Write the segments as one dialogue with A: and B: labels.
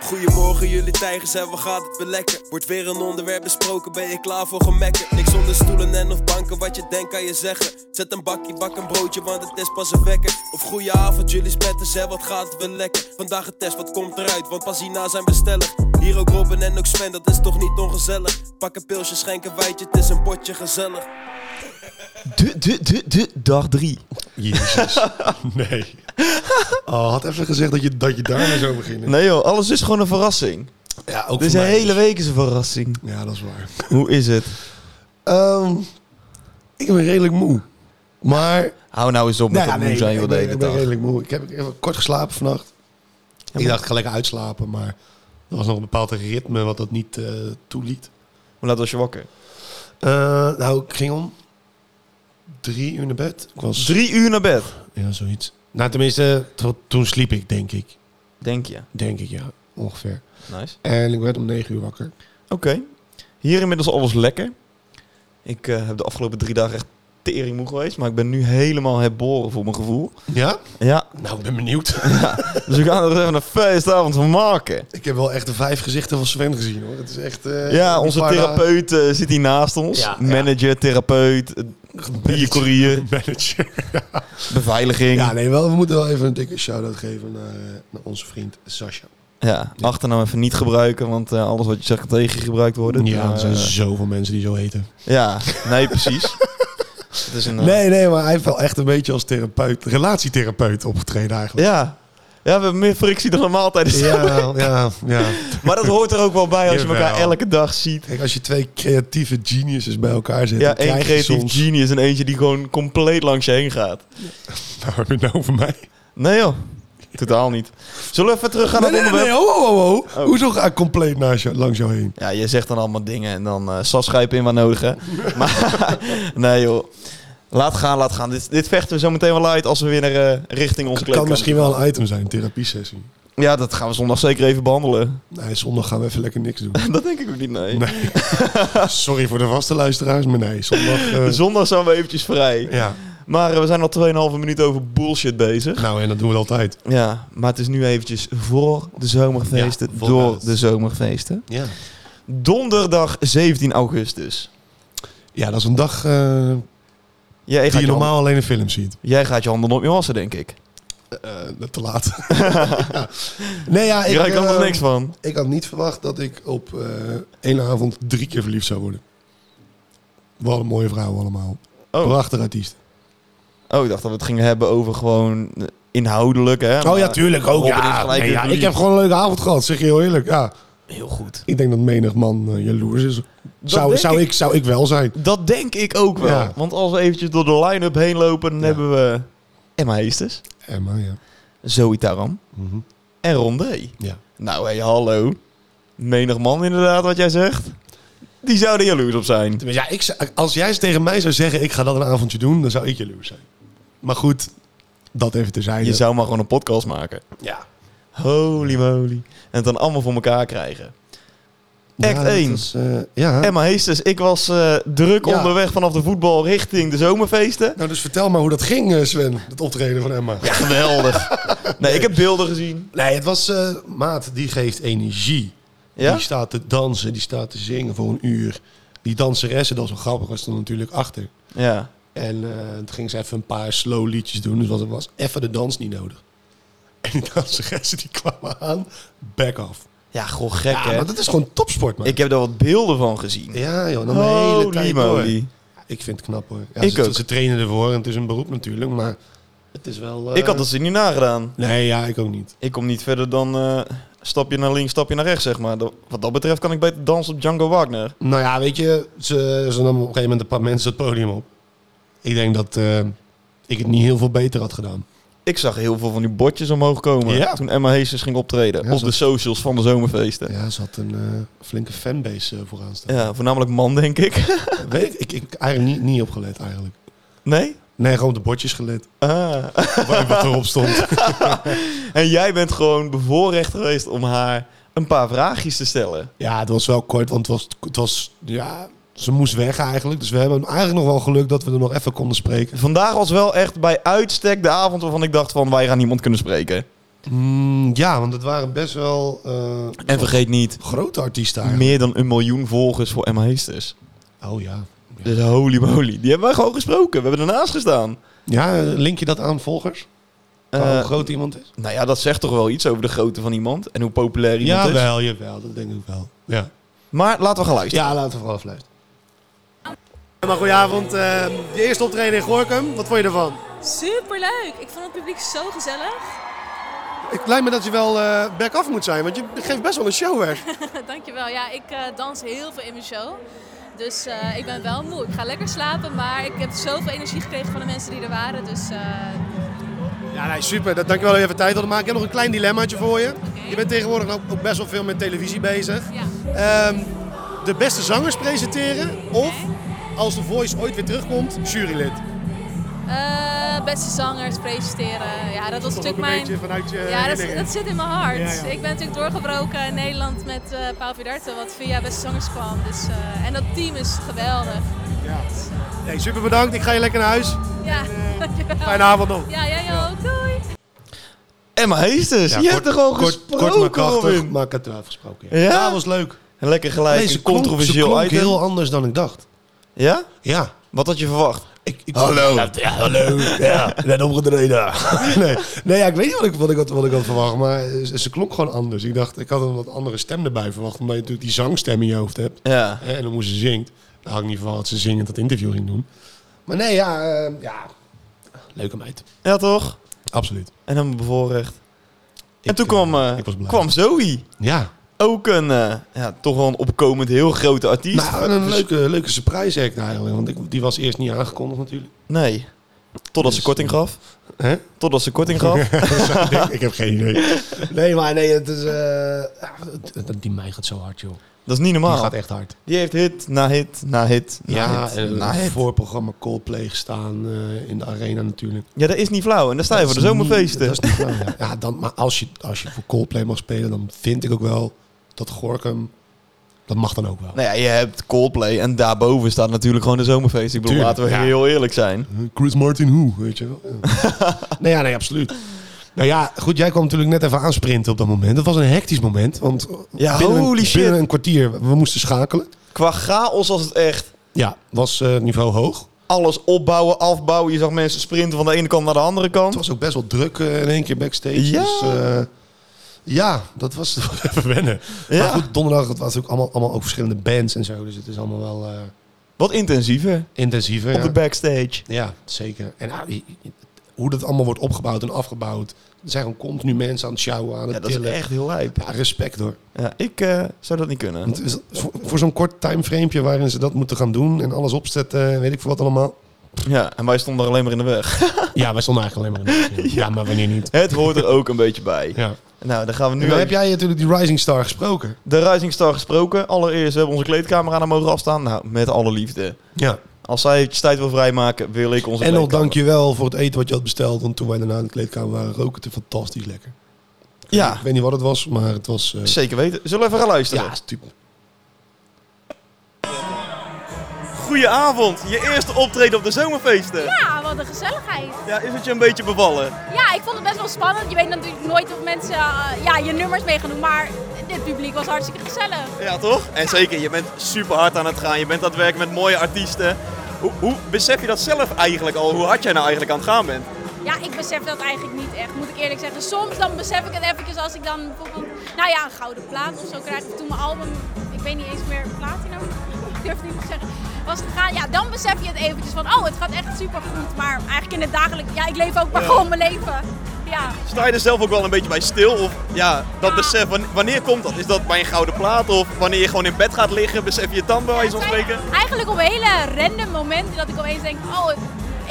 A: Goedemorgen jullie tijgers en wat gaat het weer lekker? Wordt weer een onderwerp besproken, ben je klaar voor gemekken? Niks onder stoelen en of banken, wat je denkt kan je zeggen Zet een bakje, bak een broodje, want het is pas een wekker Of goeie avond jullie spetters en wat gaat het weer lekker? Vandaag een test, wat komt eruit, want pas hierna zijn we stellig Hier ook Robin en ook Sven, dat is toch niet ongezellig? Pak een pilsje, schenk een wijtje, het is een potje gezellig
B: De, de, de, de, dag drie.
C: Jezus. Nee. Oh, had even gezegd dat je, dat je daar maar zou beginnen.
B: Nee joh, alles is gewoon een verrassing.
C: Ja, ook
B: Deze
C: voor mij
B: hele week is een verrassing.
C: dus. Ja, dat is waar.
B: Hoe is het?
C: Ehm, ik ben redelijk moe. Maar...
B: Hou nou eens op met dat moe zijn joh de
C: ik ben,
B: hele
C: ik ben
B: dag.
C: redelijk moe. Ik heb even kort geslapen vannacht. ik dacht, ik ga lekker uitslapen, maar... Er was nog een bepaald ritme wat dat niet eh, toeliet.
B: Hoe laat was je wakker?
C: Eh, nou, ik ging om drie uur naar bed. Ik was...
B: Drie uur naar bed,
C: Ja, zoiets. Nou, tenminste, to- toen sliep ik, denk ik.
B: denk je.
C: Denk ik, ja. Ongeveer.
B: Nice.
C: En ik werd om negen uur wakker.
B: Oké. Hier inmiddels alles lekker. Ik eh, heb de afgelopen drie dagen echt tering moe geweest, maar ik ben nu helemaal herboren voor mijn gevoel.
C: Ja?
B: Ja,
C: Nou, ik ben benieuwd.
B: dus we gaan er even een feestavond van maken.
C: Ik heb wel echt de vijf gezichten van Sven gezien hoor. Het is echt. eh,
B: Ja,
C: die
B: onze
C: paar
B: therapeut eh, zit hier naast ons.
C: Ja, ja.
B: Manager, therapeut, eh, biercourier,
C: dagen- Manager.
B: beveiliging.
C: Ja,
B: Ja,
C: nee, wel, we moeten wel even een dikke shout-out geven naar, eh, naar onze vriend Sasha.
B: achternaam even niet gebruiken, want eh, alles wat je zegt kan tegengebruikt worden. Maar, eh,
C: zoveel mensen die zo heten.
B: ja, nee, precies. Het is een, eh,
C: Nee, nee, maar hij heeft wel echt een beetje als therapeut, relatietherapeut opgetreden eigenlijk.
B: Ja. ja, we hebben meer frictie dan normaal tijdens de
C: ja, ja. ja.
B: Maar dat hoort er ook wel bij als je elkaar
C: Jawel.
B: elke dag ziet.
C: Kijk, als je twee creatieve geniuses bij elkaar zet,
B: Ja,
C: dan
B: één
C: krijg je
B: creatief
C: soms...
B: genius en eentje die gewoon compleet langs je heen gaat.
C: Nou, heb je het nou over mij?
B: Nee joh, totaal niet. Zullen we even teruggaan
C: Nee,
B: naar
C: nee,
B: het
C: nee, nee,
B: onderwerp?
C: ho, ho, ho.
B: Oh.
C: Hoezo ga ik compleet naast jou- langs jou heen?
B: Ja, je zegt dan allemaal dingen en dan eh Sas grijp in waar nodig hè. Maar nee joh, laat gaan, laat gaan. Dit, dit vechten we zo meteen wel uit als we weer naar, eh, richting onze
C: Het kan
B: kleedkamer
C: misschien wel een item zijn, een therapie-sessie.
B: Ja, dat gaan we zondag zeker even behandelen.
C: Nee, zondag gaan we even lekker niks doen.
B: dat denk ik ook niet, nee.
C: Nee. Sorry voor de vaste luisteraars, maar nee, zondag... eh,
B: Zondag zijn we eventjes vrij.
C: ja,
B: Maar eh, we zijn al 2,5 minuten over bullshit bezig.
C: nou en dat doen we altijd.
B: Ja, maar het is nu eventjes voor de zomerfeesten,
C: Ja, vooruit.
B: door de zomerfeesten.
C: Ja.
B: Donderdag 17 augustus.
C: Ja, dat is een dag eh,
B: Jij
C: die
B: gaat
C: je
B: je
C: normaal alleen in film ziet.
B: handen- jij gaat je handen op je wassen, denk ik.
C: Eh, eh, te laat. Ja. Nee, ja,
B: Ik
C: ik,
B: ruik er nog
C: eh,
B: niks van.
C: ik had niet verwacht dat ik op eh, één avond drie keer verliefd zou worden. Wat een mooie vrouwen allemaal.
B: Oh.
C: Prachtig artiest.
B: oh, ik dacht dat we het gingen hebben over gewoon eh, inhoudelijk, hè.
C: Oh ja,
B: maar-
C: tuurlijk ook.
B: Robin is
C: Ja,
B: gelijk
C: Nee,
B: weer
C: ja, ik
B: verliefd.
C: heb gewoon een leuke avond gehad, zeg je heel eerlijk. Ja,
B: Heel goed.
C: ik denk dat menig man eh, jaloers is. Zou,
B: denk
C: zou, ik, zou ik wel zijn.
B: Dat denk ik ook wel.
C: Ja.
B: Want als we eventjes door de line-up heen lopen, dan
C: Ja.
B: hebben we Emma Heesters,
C: Emma, ja.
B: Zoe Taram
C: Mhm.
B: en Rondé.
C: Ja.
B: Nou, hé, hallo. Menig man inderdaad, wat jij zegt. Die zou er jaloers op zijn.
C: Tenminste, ja, ik, zou- als jij eens tegen mij zou zeggen, ik ga dat een avondje doen, dan zou ik jaloers zijn. Maar goed, dat even terzijde.
B: Je zou maar gewoon een podcast maken.
C: ja.
B: Holy moly. En het dan allemaal voor elkaar krijgen. Act
C: dat
B: één.
C: is, eh, ja.
B: Emma Heesters, ik was eh, druk
C: Ja.
B: onderweg vanaf de voetbal richting de zomerfeesten.
C: Nou, dus vertel maar hoe dat ging, eh, Sven, dat optreden van Emma.
B: Ja, geweldig. Nee, ik heb beelden gezien.
C: Nee, het was eh, Maat, die geeft energie.
B: Ja?
C: Die staat te dansen, die staat te zingen voor een uur. Die danseressen, dat was wel grappig, was stond natuurlijk achter.
B: Ja.
C: En eh toen ging ze even een paar slow liedjes doen, dus was, was even de dans niet nodig. En die danseressen die kwamen aan, back off.
B: Ja, gewoon gek
C: Ja,
B: hè.
C: maar dat is gewoon topsport, man.
B: Ik heb daar wat beelden van gezien.
C: Ja, joh, dan de hele
B: Holy
C: tijd door.
B: moly.
C: Ik vind het knap hoor. Ja,
B: Ik
C: ze,
B: ook.
C: ze trainen ervoor en het is een beroep natuurlijk, maar het is wel... eh,
B: Ik had dat ze niet nagedaan.
C: Nee, ja, ik ook niet.
B: Ik kom niet verder dan eh, stapje naar links, stapje naar rechts, zeg maar. Dat- wat dat betreft kan ik beter dansen op Django Wagner.
C: Nou ja, weet je, ze, ze nam op een gegeven moment een paar mensen het podium op. Ik denk dat eh, ik het niet heel veel beter had gedaan.
B: Ik zag heel veel van die bordjes omhoog komen
C: Ja.
B: toen Emma Heesters ging optreden.
C: Ja,
B: op
C: zo-
B: de socials van de zomerfeesten.
C: Ja, ze had een eh, flinke fanbase eh, vooraan staan.
B: Ja, voornamelijk man, denk ik.
C: Weet ik, ik, ik eigenlijk niet, niet opgelet eigenlijk.
B: Nee?
C: Nee, gewoon op de bordjes gelet.
B: Ah.
C: waar- Wat erop stond.
B: En jij bent gewoon bevoorrecht geweest om haar een paar vraagjes te stellen.
C: Ja, het was wel kort, want het was, het was... Ja, ze moest weg eigenlijk. Dus we hebben eigenlijk nog wel geluk dat we er nog even konden spreken.
B: Vandaag was wel echt bij uitstek de avond waarvan ik dacht van wij gaan niemand kunnen spreken.
C: Mm, ja, want het waren best wel eh,
B: En vergeet niet,
C: grote artiesten eigenlijk.
B: meer dan een miljoen volgers voor Emma Heesters.
C: Oh ja.
B: Dus holy moly, die hebben wij gewoon gesproken. We hebben ernaast gestaan.
C: Ja, eh, link je dat aan volgers? Aan hoe
B: Eh,
C: groot iemand is?
B: nou ja, dat zegt toch wel iets over de grootte van iemand en hoe populair iemand is.
C: Jawel, jawel. Dat denk ik wel. Ja,
B: Maar laten we gaan luisteren.
C: ja laten we vooral afluisteren.
D: Maar goedenavond, eh, je eerste optreden in Gorkum, wat vond je ervan?
E: Superleuk! Ik vond het publiek zo gezellig.
D: Het lijkt me dat je wel eh back-off moet zijn, want je geeft best wel een show weg.
E: Dankjewel. Ja, ik eh, dans heel veel in mijn show. Dus eh, ik ben wel moe. Ik ga lekker slapen, maar ik heb zoveel energie gekregen van de mensen die er waren. Dus eh,
D: Ja, nee, super. Dat, dankjewel dat je even tijd wilde maken. Ik heb nog een klein dilemmaatje voor je. Je bent tegenwoordig ook, ook best wel veel met televisie bezig.
E: ja.
D: Ehm, de beste zangers presenteren of, als de voice ooit weer terugkomt, jurylid.
E: Eh, beste zangers presenteren. Ja, dat was
D: Toch
E: natuurlijk
D: ook een beetje
E: mijn...
D: vanuit je
E: Ja, dat,
D: dingen.
E: dat zit in mijn hart.
D: Ja, ja.
E: Ik ben natuurlijk doorgebroken in Nederland met eh Paul Vidarte, wat via Beste Zangers kwam. Dus, eh, en dat team is geweldig.
D: Ja. Nee, super bedankt. Ik ga je lekker naar huis.
E: Ja,
D: eh,
E: dankjewel.
D: Fijne avond nog.
E: Ja, jij ook. Doei!
B: Emma Heesters,
C: Ja,
B: je hebt er gewoon
C: kort,
B: gesproken,
C: kort maar krachtig,
B: Robin.
C: maar ik had het wel afgesproken.
B: Ja?
C: dat was leuk.
B: En lekker gelijk,
C: Nee,
B: een
C: ze klonk, ze
B: controversieel
C: klonk
B: item.
C: heel anders dan ik dacht.
B: Ja?
C: Ja.
B: Wat had je verwacht?
C: Ik, ik, hallo. Ja, ja, hallo. Ja, net opgetreden. nee, nee ja, ik weet niet wat ik, wat, ik had, wat ik had verwacht, maar ze, ze klonk gewoon anders. Ik dacht, ik had een wat andere stem erbij verwacht, omdat je natuurlijk die zangstem in je hoofd hebt.
B: Ja.
C: Hè, en dan hoe ze zingt. Daar had ik niet van dat ze zingend dat interview ging doen. Maar nee, ja, eh, ja. leuke meid.
B: Ja, toch?
C: Absoluut.
B: En helemaal bevoorrecht. en
C: Ik,
B: toen
C: eh,
B: kwam, eh,
C: ik was blij.
B: kwam Zoe.
C: Ja,
B: Ook een, eh, ja, toch wel een opkomend heel grote artiest.
C: nou, een leuke, leuke surprise act eigenlijk, want ik, die was eerst niet aangekondigd natuurlijk.
B: Nee. Totdat ze
C: Dus,
B: korting gaf.
C: Hè?
B: Totdat ze korting gaf.
C: ik, denk- ik heb geen idee. Nee, maar nee, het is... eh, ah, het- het- die meid gaat zo hard, joh.
B: Dat is niet
C: Die
B: normaal. Die,
C: gaat echt hard.
B: heeft hit na hit na hit na
C: Ja, eh,
B: hit
C: en een
B: na hit.
C: voorprogramma Coldplay gestaan eh, in de arena natuurlijk.
B: Ja, dat is niet flauw. En dan sta je voor de
C: is niet-
B: zomerfeesten.
C: dat is niet waar, ja. ja, dan, maar als je, als je voor Coldplay mag spelen, dan vind ik ook wel dat Gorkum, dat mag dan ook wel.
B: Nou ja, je hebt Coldplay en daarboven staat natuurlijk gewoon de zomerfeest. Ik bedoel,
C: Tuurlijk,
B: laten we
C: ja.
B: heel eerlijk zijn.
C: Eh, Chris Martin hoe, weet je wel. Ja. nee, ja, nee, absoluut. Nou ja, goed, jij kwam natuurlijk net even aansprinten op dat moment. Dat was een hectisch moment, want
B: Ja,
C: binnen, een-
B: holy shit.
C: binnen een kwartier, we moesten schakelen.
B: Qua chaos was het echt
C: Ja, was eh, niveau hoog.
B: alles opbouwen, afbouwen. Je zag mensen sprinten van de ene kant naar de andere kant.
C: Het was ook best wel druk eh, in één keer backstage.
B: Ja.
C: Dus, eh, ja, dat was even wennen.
B: Ja.
C: Maar goed, donderdag het was ook allemaal, allemaal ook verschillende bands en zo. Dus het is allemaal wel eh,
B: Wat intensiever
C: intensiever.
B: op de
C: Ja.
B: backstage.
C: ja, zeker. En ah, i- i- hoe dat allemaal wordt opgebouwd en afgebouwd. Er zijn gewoon continu mensen aan het sjouwen, aan het
B: Ja, dat is
C: tillen.
B: echt heel lijp.
C: Ja, respect hoor.
B: Ja, ik eh, zou dat niet kunnen.
C: Want is- voor, voor zo'n kort timeframepje waarin ze dat moeten gaan doen en alles opzetten, en weet ik veel wat allemaal.
B: Ja, en wij stonden er alleen maar in de weg.
C: Ja, wij stonden eigenlijk alleen maar in de Ja, maar wanneer niet?
B: Het hoort er ook een beetje bij.
C: Ja.
B: Nou, dan gaan we nu...
C: Nu heb jij natuurlijk die Rising Star gesproken.
B: De Rising Star gesproken. Allereerst we hebben onze kleedkamer aan haar mogen afstaan. Nou, met alle liefde.
C: Ja.
B: Als zij eventjes tijd wil vrijmaken, wil ik onze
C: En nog
B: kleedkamer.
C: dankjewel voor het eten wat je had besteld. Want toen wij daarna in de kleedkamer waren, rook het er fantastisch lekker.
B: Ja,
C: Ik weet niet wat het was, maar het was... eh,
B: zeker weten. Zullen we even gaan luisteren?
C: ja, typ.
B: Goedenavond, je eerste optreden op de zomerfeesten. Ja.
E: Ja, Ah, wat een gezelligheid.
B: is het je een beetje bevallen?
E: Ja, ik vond het best wel spannend. Je weet natuurlijk nooit of mensen eh, ja, je nummers mee gaan doen, maar dit publiek was hartstikke gezellig.
B: Ja, toch? En zeker, je bent super hard aan het gaan. Je bent aan het werken met mooie artiesten. Hoe, hoe besef je dat zelf eigenlijk al? Hoe hard jij nou eigenlijk aan het gaan bent?
E: Ja, ik besef dat eigenlijk niet echt, moet ik eerlijk zeggen. Soms dan besef ik het eventjes als ik dan bijvoorbeeld, nou ja, een gouden plaat of zo krijg. Of toen mijn album, ik weet niet eens meer, platinum, ik durf het niet te zeggen, was gegaan. Ja, dan besef je het eventjes van, oh, het gaat echt super goed. Maar eigenlijk in het dagelijks, ja, ik leef ook maar gewoon mijn leven. Ja.
B: Sta je er zelf ook wel een beetje bij stil? Of ja, dat besef, wan- wanneer komt dat? Is dat bij een gouden plaat? Of wanneer je gewoon in bed gaat liggen, besef je het dan bij wijze van
E: Het zijn
B: spreken?
E: Eigenlijk op hele random momenten dat ik opeens denk, oh,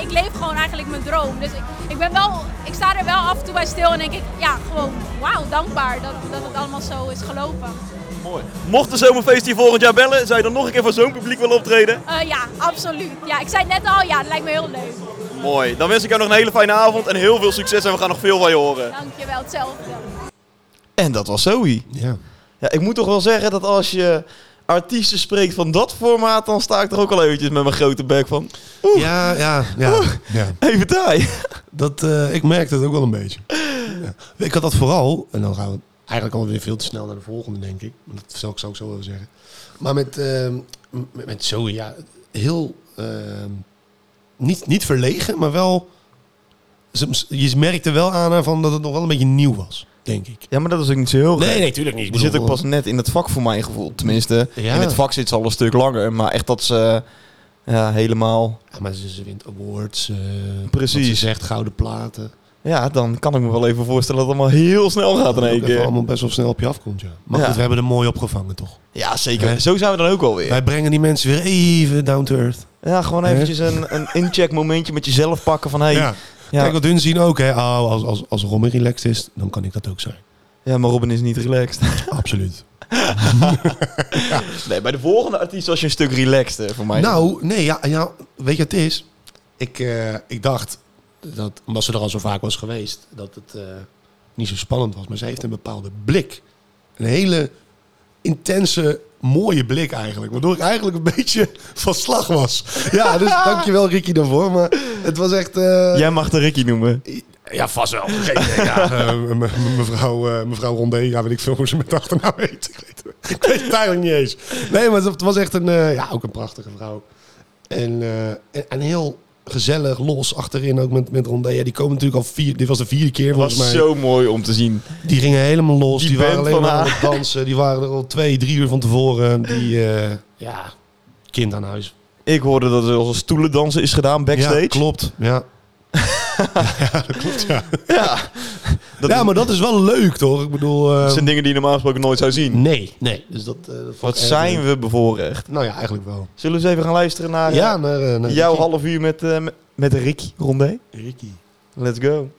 E: ik leef gewoon eigenlijk mijn droom. Dus ik, ik ben wel, ik sta er wel af en toe bij stil en denk ik, ja, gewoon wauw, dankbaar dat, dat het allemaal zo is gelopen.
B: Mooi. Mocht de zomerfeest hier volgend jaar bellen, zou je dan nog een keer voor zo'n publiek willen optreden?
E: Eh, ja, absoluut. Ja, ik zei net al, ja, dat lijkt me heel leuk.
B: Mooi. Dan wens ik jou nog een hele fijne avond en heel veel succes en we gaan nog veel van je horen.
E: Dankjewel, hetzelfde.
B: En dat was Zoe.
C: Ja.
B: Ja, ik moet toch wel zeggen dat als je artiesten spreekt van dat formaat, dan sta ik er ook al eventjes met mijn grote bek van.
C: Ja, ja, ja. ja.
B: Even taai.
C: Dat, eh, ik merkte het ook wel een beetje. Ik had dat vooral, en dan gaan we eigenlijk alweer veel te snel naar de volgende, denk ik. Dat zal ik zo ook zo wel zeggen. Maar met, ehm, m- met, met Zoe, ja, heel... ehm, niet, niet verlegen, maar wel... ze- Je merkte wel aan haar van dat het nog wel een beetje nieuw was, denk ik.
B: Ja, maar dat is ook niet zo heel gek.
C: tuurlijk niet.
B: Die zit ook pas net in het vak voor mijn gevoel. Tenminste,
C: Ja.
B: in het vak zit ze al een stuk langer. Maar echt dat ze eh, ja, helemaal...
C: Ja, maar ze, ze wint awards. eh,
B: Precies.
C: wat Ze zegt gouden platen.
B: Ja, dan kan ik me wel even voorstellen dat het allemaal heel snel gaat in
C: Ook
B: één
C: even
B: keer.
C: allemaal best wel snel op je afkomt, ja. Maar
B: Ja.
C: goed, we hebben er mooi opgevangen, toch?
B: Ja, zeker. Zo zijn we dan ook alweer.
C: Wij brengen die mensen weer even down to earth.
B: Ja, gewoon eventjes een, een incheck momentje met jezelf pakken van... Hey, ja.
C: Ja. Kijk, wat hun zien ook, hè. Oh, als, als, als Romy relaxed is, dan kan ik dat ook zijn.
B: ja, maar Robin is niet relaxed.
C: Absoluut.
B: Nee, bij de volgende artiest was je een stuk relaxter voor mij.
C: Nou, nee, ja, ja, weet je wat het is? Ik, eh, ik dacht, dat, omdat ze er al zo vaak was geweest, dat het eh, niet zo spannend was. Maar ze heeft een bepaalde blik. Een hele intense, mooie blik eigenlijk. Waardoor ik eigenlijk een beetje van slag was. Ja, dus dankjewel Ricky daarvoor. Maar het was echt... eh,
B: Jij mag de Ricky noemen.
C: Ja, vast wel. Geen idee, ja. Eh, me- me- mevrouw, eh, mevrouw Rondé, ja, weet ik veel hoe ze met de achternaam heet. Ik weet, het- ik weet het eigenlijk niet eens. Nee, maar het was echt een, eh, ja, ook een prachtige vrouw. En, eh, en, en heel gezellig, los achterin ook met, met Rondé. Ja, die komen natuurlijk al vier, dit was de vierde keer
B: was
C: volgens mij.
B: zo mooi om te zien.
C: Die gingen helemaal los.
B: Die
C: Die, waren
B: band
C: alleen
B: van
C: maar aan
B: haar.
C: het dansen. Die waren er al twee, drie uur van tevoren. Die, eh, ja, kind aan huis.
B: Ik hoorde dat er als een stoelendansen is gedaan backstage.
C: Ja, klopt. Ja. ja, dat klopt, ja.
B: Dat
C: ja,
B: is-
C: maar dat is wel leuk, toch? Ik bedoel... eh,
B: dat zijn dingen die je normaal gesproken nooit zou zien.
C: Nee, nee. Dus dat, eh, dat vond
B: Wat
C: ik erg
B: zijn
C: leuk.
B: we bevoorrecht.
C: Nou ja, eigenlijk wel.
B: Zullen we eens even gaan luisteren naar eh,
C: ja, naar, eh, naar
B: jouw half uur met, eh, met- met Ricky Rondé?
C: Ricky.
B: Let's go.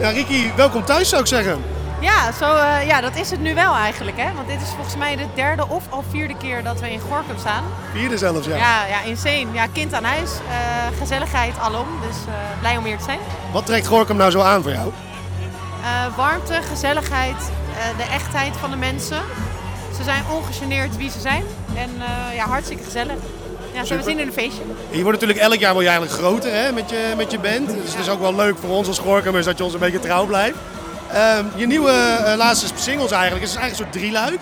D: Ja, Ricky, welkom thuis zou ik zeggen.
F: Ja, zo, eh, ja, dat is het nu wel eigenlijk. Hè? Want dit is volgens mij de derde of al vierde keer dat we in Gorkum staan.
D: Vierde zelfs, ja.
F: Ja, ja insane. Ja, kind aan huis. eh, gezelligheid alom. Dus eh, blij om hier te zijn.
D: Wat trekt Gorkum nou zo aan voor jou?
F: Eh, warmte, gezelligheid, eh, de echtheid van de mensen. Ze zijn ongegeneerd wie ze zijn. En eh, ja, hartstikke gezellig. Ja, zo we zien in een feestje.
D: Je wordt natuurlijk elk jaar word je eigenlijk groter hè, met, je, met je band. Dus het is ook wel leuk voor ons als Gorkumers dat je ons een beetje trouw blijft. Ehm, je nieuwe eh, laatste singles eigenlijk is eigenlijk een soort drieluik.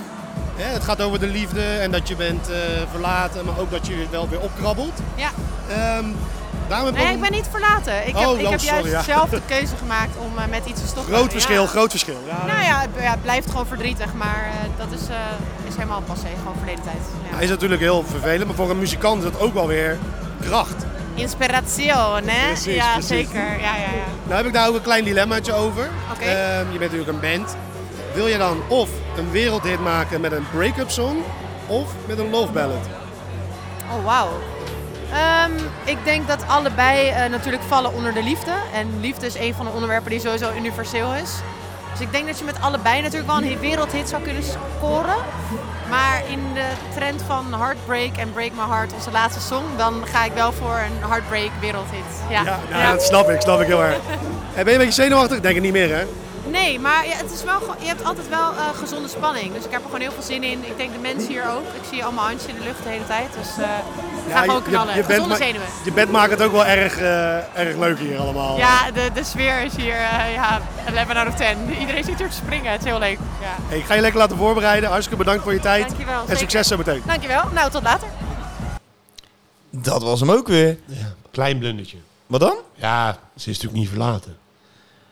D: Hè, het gaat over de liefde en dat je bent eh, verlaten, maar ook dat je wel weer opkrabbelt.
F: Ja.
D: Ehm, daarom heb ik
F: Nee,
D: ook
F: ik ben niet verlaten. Ik heb,
D: Oh,
F: ik
D: oh,
F: heb
D: sorry,
F: juist
D: ja.
F: zelf de keuze gemaakt om eh, met iets te stoppen.
D: groot verschil,
F: Ja.
D: groot verschil. Ja,
F: Nou ja, het- ja, het blijft gewoon verdrietig, maar eh, dat is, eh, is helemaal passé, gewoon verleden tijd. Ja.
D: Hij is natuurlijk heel vervelend, maar voor een muzikant is dat ook wel weer kracht.
F: Inspirazione, hè?
D: Precies,
F: ja,
D: precies.
F: zeker. Ja, ja, ja.
D: Nou heb ik daar ook een klein dilemmaatje over.
F: Oké.
D: Ehm, je bent natuurlijk een band. Wil je dan of een wereldhit maken met een break-up song of met een love ballad?
F: Oh, wauw. Ehm, ik denk dat allebei eh, natuurlijk vallen onder de liefde. En liefde is een van de onderwerpen die sowieso universeel is. Dus ik denk dat je met allebei natuurlijk wel een wereldhit zou kunnen scoren. Maar in de trend van Heartbreak en Break My Heart, onze laatste song, dan ga ik wel voor een Heartbreak wereldhit. Ja,
D: Ja, ja, dat snap ik, snap ik heel erg. En Eh, ben je een beetje zenuwachtig? Denk het niet meer, hè?
F: Nee, maar ja, het is wel, gewoon- je hebt altijd wel eh, gezonde spanning. Dus ik heb er gewoon heel veel zin in. Ik denk de mensen hier ook. Ik zie allemaal handjes in de lucht de hele tijd. Dus eh we gaan gewoon knallen. gezonde
D: ma-
F: zenuwen.
D: je band maakt het ook wel erg, eh, erg leuk hier allemaal.
F: Ja, de, de sfeer is hier eh, ja, 11 out of 10. Iedereen zit hier te springen. Het is heel leuk. Ja.
D: Hey, ik ga je lekker laten voorbereiden. Hartstikke bedankt voor je tijd.
F: Dankjewel,
D: en
F: zeker.
D: succes zo meteen.
F: Dankjewel. Nou, tot later.
B: Dat was hem ook weer.
C: Klein blundertje.
B: Wat dan?
C: Ja, ze is natuurlijk niet verlaten.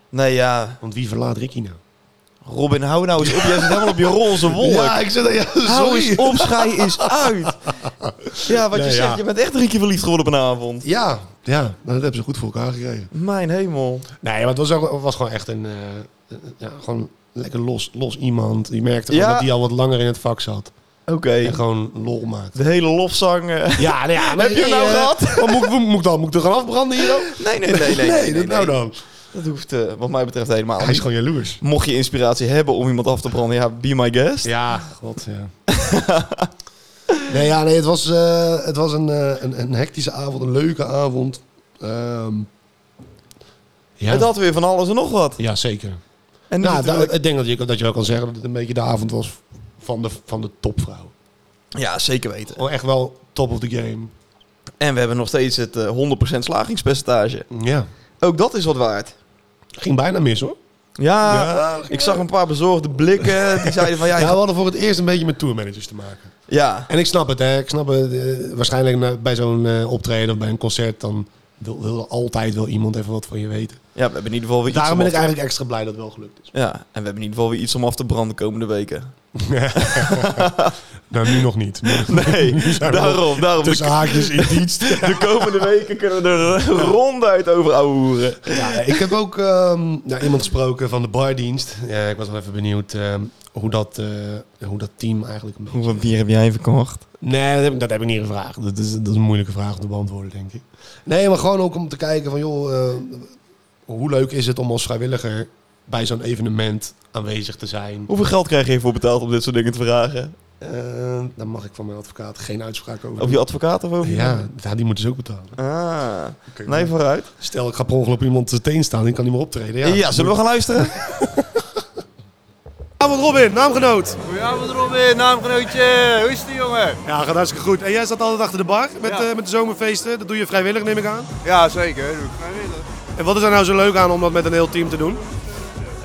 B: Nee, ja.
C: Want wie verlaat Ricky nou?
B: Robin, hou nou eens op. Jij zit helemaal op je roze wolk.
C: ik zit... Ja,
B: hou eens op, schij eens uit. Ja, wat je
C: Nee,
B: zegt.
C: ja.
B: Je bent echt drie keer verliefd geworden op een avond.
C: Ja, ja, nou, dat hebben ze goed voor elkaar gekregen.
B: Mijn hemel.
C: Nee, maar het was, ook, het was gewoon echt een... eh, eh, ja, gewoon lekker los, los iemand. Je merkte gewoon
B: Ja.
C: dat die al wat langer in het vak zat.
B: Oké.
C: En gewoon lol maakt.
B: De hele lofzang. eh.
C: Ja, nou ja.
B: Heb je hem nou gehad?
C: Wat moet, ik- moet ik dan? Moet ik er gaan afbranden hier ook?
B: Nee, nee, nee. Nee,
C: dat nou dan.
B: Dat hoeft eh, wat mij betreft helemaal
C: Hij
B: niet.
C: is gewoon jaloers.
B: Mocht je inspiratie hebben om iemand af te branden, ja, be my guest.
C: Ja, Oh, god, ja. nee, ja, nee, het was, eh, het was een, eh, een, een hectische avond, een leuke avond. Ehm, ja.
B: Het had weer van alles en nog wat.
C: ja, zeker.
B: En
C: Nou,
B: natuurlijk-
C: da- ik denk dat je, dat je wel kan zeggen dat het een beetje de avond was van de, van de topvrouw. eh,
B: ja, zeker weten.
C: Gewoon Oh, echt wel top of the game.
B: En we hebben nog steeds het eh, 100% slagingspercentage.
C: Ja.
B: Ook dat is wat waard.
C: Ging bijna mis, hoor.
B: Ja, ik zag een paar bezorgde blikken. Die zeiden van, ja,
C: Ja,
B: je
C: we
B: gaat-
C: hadden voor het eerst een beetje met tourmanagers te maken.
B: ja.
C: En ik snap het, hè. Ik snap het. eh, waarschijnlijk na- bij zo'n eh, optreden of bij een concert... dan wil, wil er altijd wel iemand even wat van je weten.
B: ja, we hebben in ieder geval weer iets
C: Daarom
B: om af
C: ben ik
B: te-
C: eigenlijk extra blij dat het wel gelukt is.
B: Ja, en we hebben in ieder geval weer iets om af te branden komende weken.
C: Nou, nu nog niet.
B: Nee,
C: zijn we
B: daarom, daarom.
C: Tussen
B: De,
C: haakjes in dienst.
B: de komende weken kunnen we er ronduit over ouwe hoeren.
C: Ja, ik heb ook ehm, nou, iemand gesproken van de bardienst. Ja, ik was wel even benieuwd ehm, hoe, dat, eh, hoe dat team eigenlijk... Een beetje...
B: Hoeveel bier heb jij verkocht?
C: Nee, dat heb, ik, dat heb ik niet gevraagd. Dat is, dat is een moeilijke vraag om te beantwoorden, denk ik. Nee, maar gewoon ook om te kijken van, joh, eh, hoe leuk is het om als vrijwilliger bij zo'n evenement aanwezig te zijn?
B: Hoeveel geld krijg je ervoor betaald om dit soort dingen te vragen?
C: Eh, daar mag ik van mijn advocaat geen uitspraak over.
B: Of je advocaat of over je-
C: Ja, Oh, ja, die moeten ze ook betalen.
B: Ah, nee, vooruit.
C: Stel, ik ga per ongeluk op iemand zijn teen staan en kan niet meer optreden. Ja,
B: Ja, zullen we gaan luisteren?
D: Avond Robin, naamgenoot.
G: Goedenavond Robin, naamgenootje. Hoe is het jongen?
D: Ja, gaat hartstikke goed. En jij staat altijd achter de bar met,
G: Ja.
D: eh, met de zomerfeesten. Dat doe je vrijwillig, neem ik aan.
G: Ja, zeker. Doe ik vrijwillig.
D: En wat is er nou zo leuk aan om dat met een heel team te doen?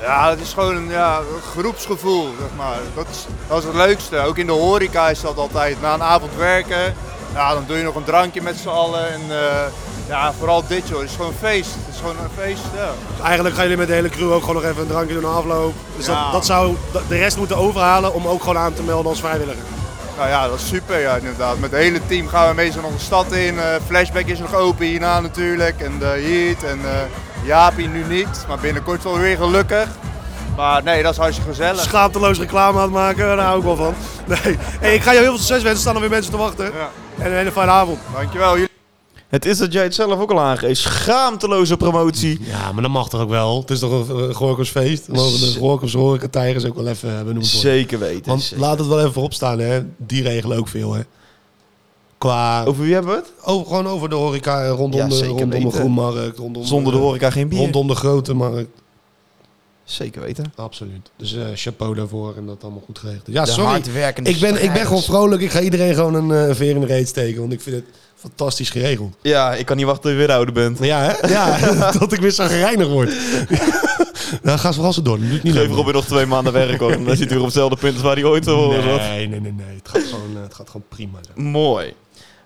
G: Ja, het is gewoon een ja, een groepsgevoel, zeg maar. Dat is, dat is het leukste. Ook in de horeca is dat altijd. Na een avond werken, ja, dan doe je nog een drankje met z'n allen. En eh, ja, vooral dit joh. Het is gewoon een feest. Het is gewoon een feest, ja.
D: Dus eigenlijk gaan jullie met de hele crew ook gewoon nog even een drankje doen na afloop. Dus
G: Ja.
D: dat, dat zou d- de rest moeten overhalen om ook gewoon aan te melden als vrijwilliger.
G: Nou ja, dat is super, ja, inderdaad. Met het hele team gaan we meestal nog de stad in. Eh, flashback is nog open hierna natuurlijk. En de Heat en eh Jaapie nu niet. Maar binnenkort wel weer gelukkig. Maar nee, dat is hartstikke gezellig.
D: Schaamteloos reclame aan het maken, daar hou ik wel van. Nee. Hey, ik ga jou heel veel succes wensen, er staan er weer mensen te wachten.
G: Ja.
D: En een hele fijne avond.
G: Dankjewel. Jullie
B: Het is dat jij het zelf ook al aangeeft. Schaamteloze promotie.
C: Ja, maar dat mag toch ook wel? Het is toch een uh, Gorkumsfeest? Dan Mogen de Gorkums horecatijgers ook wel even eh, benoemd worden?
B: Zeker weten.
C: Want
B: zeker.
C: laat het wel even voorop staan, hè. Die regelen ook veel, hè. Qua...
B: Over wie hebben we het?
C: Oh, gewoon over de horeca eh, rondom,
B: Ja,
C: de,
B: zeker
C: rondom de
B: weten.
C: groenmarkt. Rondom,
B: Zonder de
C: eh,
B: horeca geen bier.
C: Rondom de grote markt.
B: Zeker weten.
C: Absoluut. Dus eh, chapeau daarvoor en dat allemaal goed geregeld. is. Ja,
B: De
C: sorry.
B: hardwerkende
C: Ik ben, ik ben
B: strijders.
C: gewoon vrolijk. Ik ga iedereen gewoon een eh, veer in de reet steken. Want ik vind het fantastisch geregeld.
B: Ja, ik kan niet wachten tot je weer ouder bent.
C: Ja, hè? Ja, dat ik weer zo gereinigd word. nou, ga ze vooral zo door. Dat doe ik niet
B: Geef
C: leuk.
B: Robin nog twee maanden werk hoor. En dan zit hij weer op hetzelfde punt als waar hij ooit te horen zat.
C: Nee, nee, nee, nee. Het gaat gewoon, eh, het gaat gewoon prima. zo.
B: Mooi.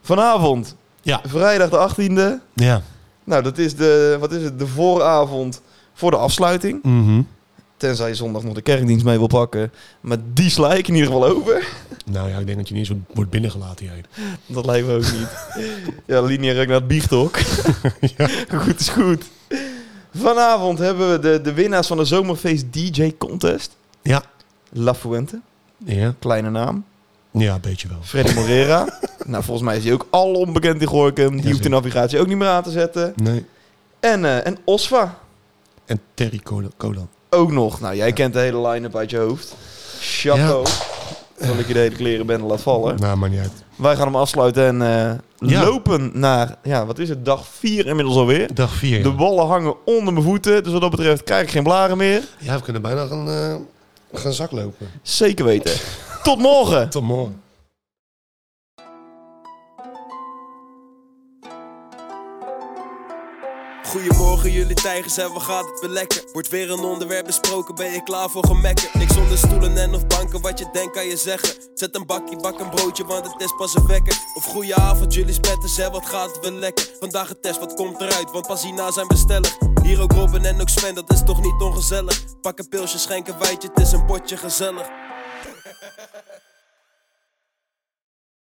B: Vanavond,
C: Ja.
B: vrijdag de 18e.
C: Ja.
B: Nou, dat is de, wat is het, de vooravond voor de afsluiting.
C: Mhm.
B: Tenzij je zondag nog de kerkdienst mee wil pakken. Maar die sla ik in ieder geval over.
C: Nou ja, ik denk dat je niet eens wordt- wordt binnengelaten hierheen.
B: Dat lijkt me ook niet. ja, lineair ook naar het biechthok. Goed is goed. Vanavond hebben we de, de winnaars van de Zomerfeest DJ Contest.
C: Ja.
B: La Fuente,
C: Ja.
B: kleine naam.
C: Ja, een beetje wel.
B: Freddy Morera. nou, volgens mij is hij ook al onbekend in Gorkum. Die hoeft de
C: Jazeker.
B: navigatie ook niet meer aan te zetten.
C: Nee.
B: En, eh, en Osva
C: En Terry Kola- Kolan.
B: ook nog. Nou, jij kent de hele line-up uit je hoofd. Chapeau. Dat ik je de hele kleren ben laat vallen.
C: Nou, maar niet uit.
B: Wij gaan hem afsluiten en eh,
C: Ja.
B: lopen naar, ja, wat is het, dag 4 inmiddels alweer.
C: Dag 4.
B: De ballen hangen onder mijn voeten, dus wat dat betreft krijg ik geen blaren meer.
C: Ja, we kunnen bijna gaan, eh, gaan zaklopen.
B: Zeker weten. Tot morgen!
C: Tot morgen.
A: Goedemorgen jullie tijgers en wat gaat het weer lekker? Wordt weer een onderwerp besproken, ben je klaar voor gemekken? Niks onder stoelen en of banken, wat je denkt kan je zeggen Zet een bakje, bak een broodje, want het is pas een wekker Of goeie avond jullie spetters en wat gaat het weer lekker? Vandaag een test, wat komt eruit, want pas hierna zijn bestellig Hier ook Robin en ook Sven, dat is toch niet ongezellig? Pak een pilsje, schenk een wijtje, het is een potje gezellig